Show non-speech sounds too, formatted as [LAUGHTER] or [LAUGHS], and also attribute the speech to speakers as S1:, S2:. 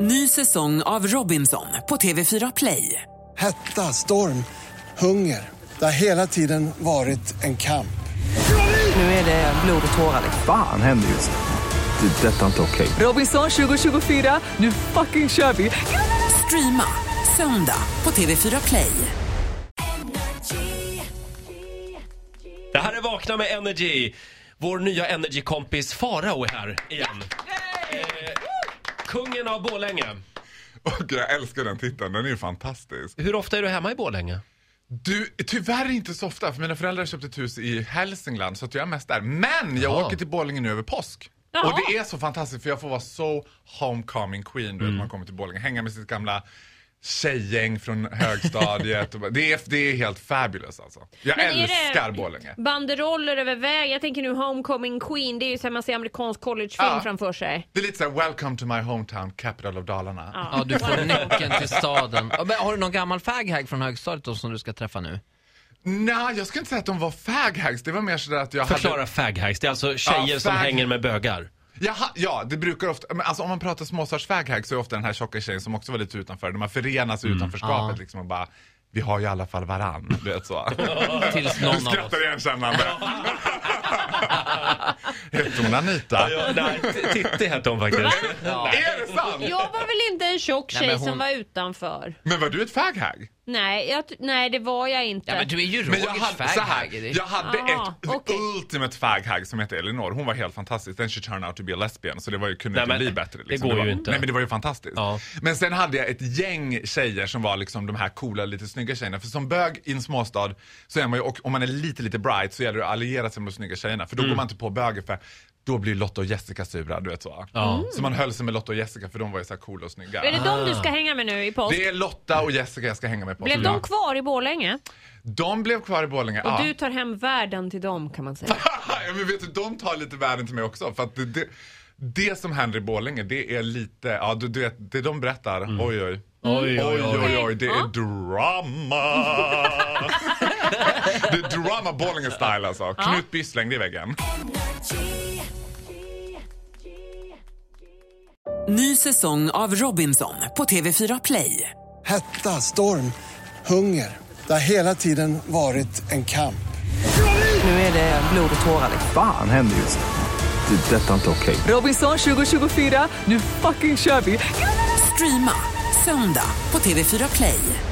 S1: Ny säsong av Robinson på TV4 Play.
S2: Hetta, storm, hunger. Det har hela tiden varit en kamp.
S1: Nu är det blod och tårar.
S3: Fan händer just nu. Det. är Detta är inte okej.
S1: Robinson 2024, nu fucking kör vi! Streama söndag på TV4 Play.
S4: Det här är Vakna med Energy. Vår nya Energy-kompis Farao är här igen. Eh, kungen av Borlänge.
S5: Och jag älskar den titeln, den är ju fantastisk.
S4: Hur ofta är du hemma i Borlänge?
S5: Du, tyvärr inte så ofta, för mina föräldrar köpte ett hus i Hälsingland så att jag är mest där. Men jag
S4: Jaha.
S5: åker till Borlänge nu över påsk. Och det är så fantastiskt för jag får vara så homecoming queen du vet, när man kommer till Borlänge. Hänga med sitt gamla tjejgäng från [LAUGHS] högstadiet. och bara- det, är, det är helt fabulous alltså. Jag
S6: Men är det-
S5: älskar Borlänge.
S6: Banderoller över väg. Jag tänker nu Homecoming Queen. Det är ju så här man ser amerikansk collegefilm
S5: Ja.
S6: framför sig.
S5: Det är lite såhär, welcome to my hometown, capital of Dalarna.
S7: Ja, du får nyckeln till staden. Ja, men Har du någon gammal faghag från högstadiet då som du ska träffa nu?
S5: Nej, jag skulle inte säga att de var faghags, det var mer sådär att jag hade...
S4: Förklara fagheist. Det är alltså tjejer
S5: Ja,
S4: som
S5: fag-
S4: hänger med bögar.
S5: Jaha, ja, det brukar ofta, men alltså om man pratar småstadsväghag så är ofta den här tjocka tjejen som också var lite utanför, de har förenats i
S7: Mm.
S5: utanförskapet liksom och bara vi har ju i alla fall varann, du vet så.
S7: [LAUGHS] Tills
S5: Du
S7: någon av oss.
S5: skrattar igenkännande.
S7: [LAUGHS]
S5: Hette hon Anita?
S4: Ja, nej, T- Titti hette hon faktiskt.
S7: Ja.
S5: Är det sant?
S6: Jag var väl inte en tjock
S7: Nej,
S6: tjej
S7: men hon-
S6: som var utanför.
S5: Men var du ett faghag?
S6: Nej, jag, t- nej det var jag inte.
S7: Ja, men du är ju
S5: Men jag
S7: Rogers
S5: hade, så här,
S7: faghag. Det-
S5: jag hade
S6: Ah,
S5: ett
S6: okej.
S5: ultimate faghag som hette Elinor. Hon var helt fantastisk. Then she turned out to be a lesbian. Så det var ju, kunde
S4: Nej,
S5: inte
S4: men
S5: bli bättre.
S4: det går
S5: var,
S4: ju inte.
S5: Nej men det var ju fantastiskt.
S4: Ja.
S5: Men sen hade jag ett gäng tjejer som var liksom de här coola, lite snygga tjejerna. För som bög i en småstad så är man ju, och om man är lite, lite bright så gäller det att alliera sig med de snygga tjejerna. För då
S4: Mm.
S5: går man inte på böger för då blir Lotta och Jessica sura, du vet så. Så man höll sig med Lotta och Jessica för de var ju så här coola och snygga.
S6: Är Mm. det dem du ska hänga med nu i påsk?
S5: Det är Lotta och Jessica jag ska hänga med på.
S6: Blev de kvar i Borlänge?
S5: de blev kvar i Borlänge.
S6: Och
S5: ja.
S6: du tar hem världen till dem kan man säga.
S5: [LAUGHS] ja, men vet du, de tar lite värden till mig också. För att det, det, det som händer i Borlänge, det är lite, ja du, du vet, det de berättar, oj oj. Mm. Oj, oj, oj, oj, det är
S6: Ja.
S5: drama! det är drama Borlänge-style alltså. Knut By slängde i väggen.
S1: Ny säsong av Robinson på TV4 Play.
S2: Hetta, storm, hunger. Det har hela tiden varit en kamp.
S1: Nu är det blod och tårar.
S3: Fan händer just nu. Det. är Detta är inte okej.
S1: Robinson 2024, nu fucking kör vi! Streama söndag på TV4 Play.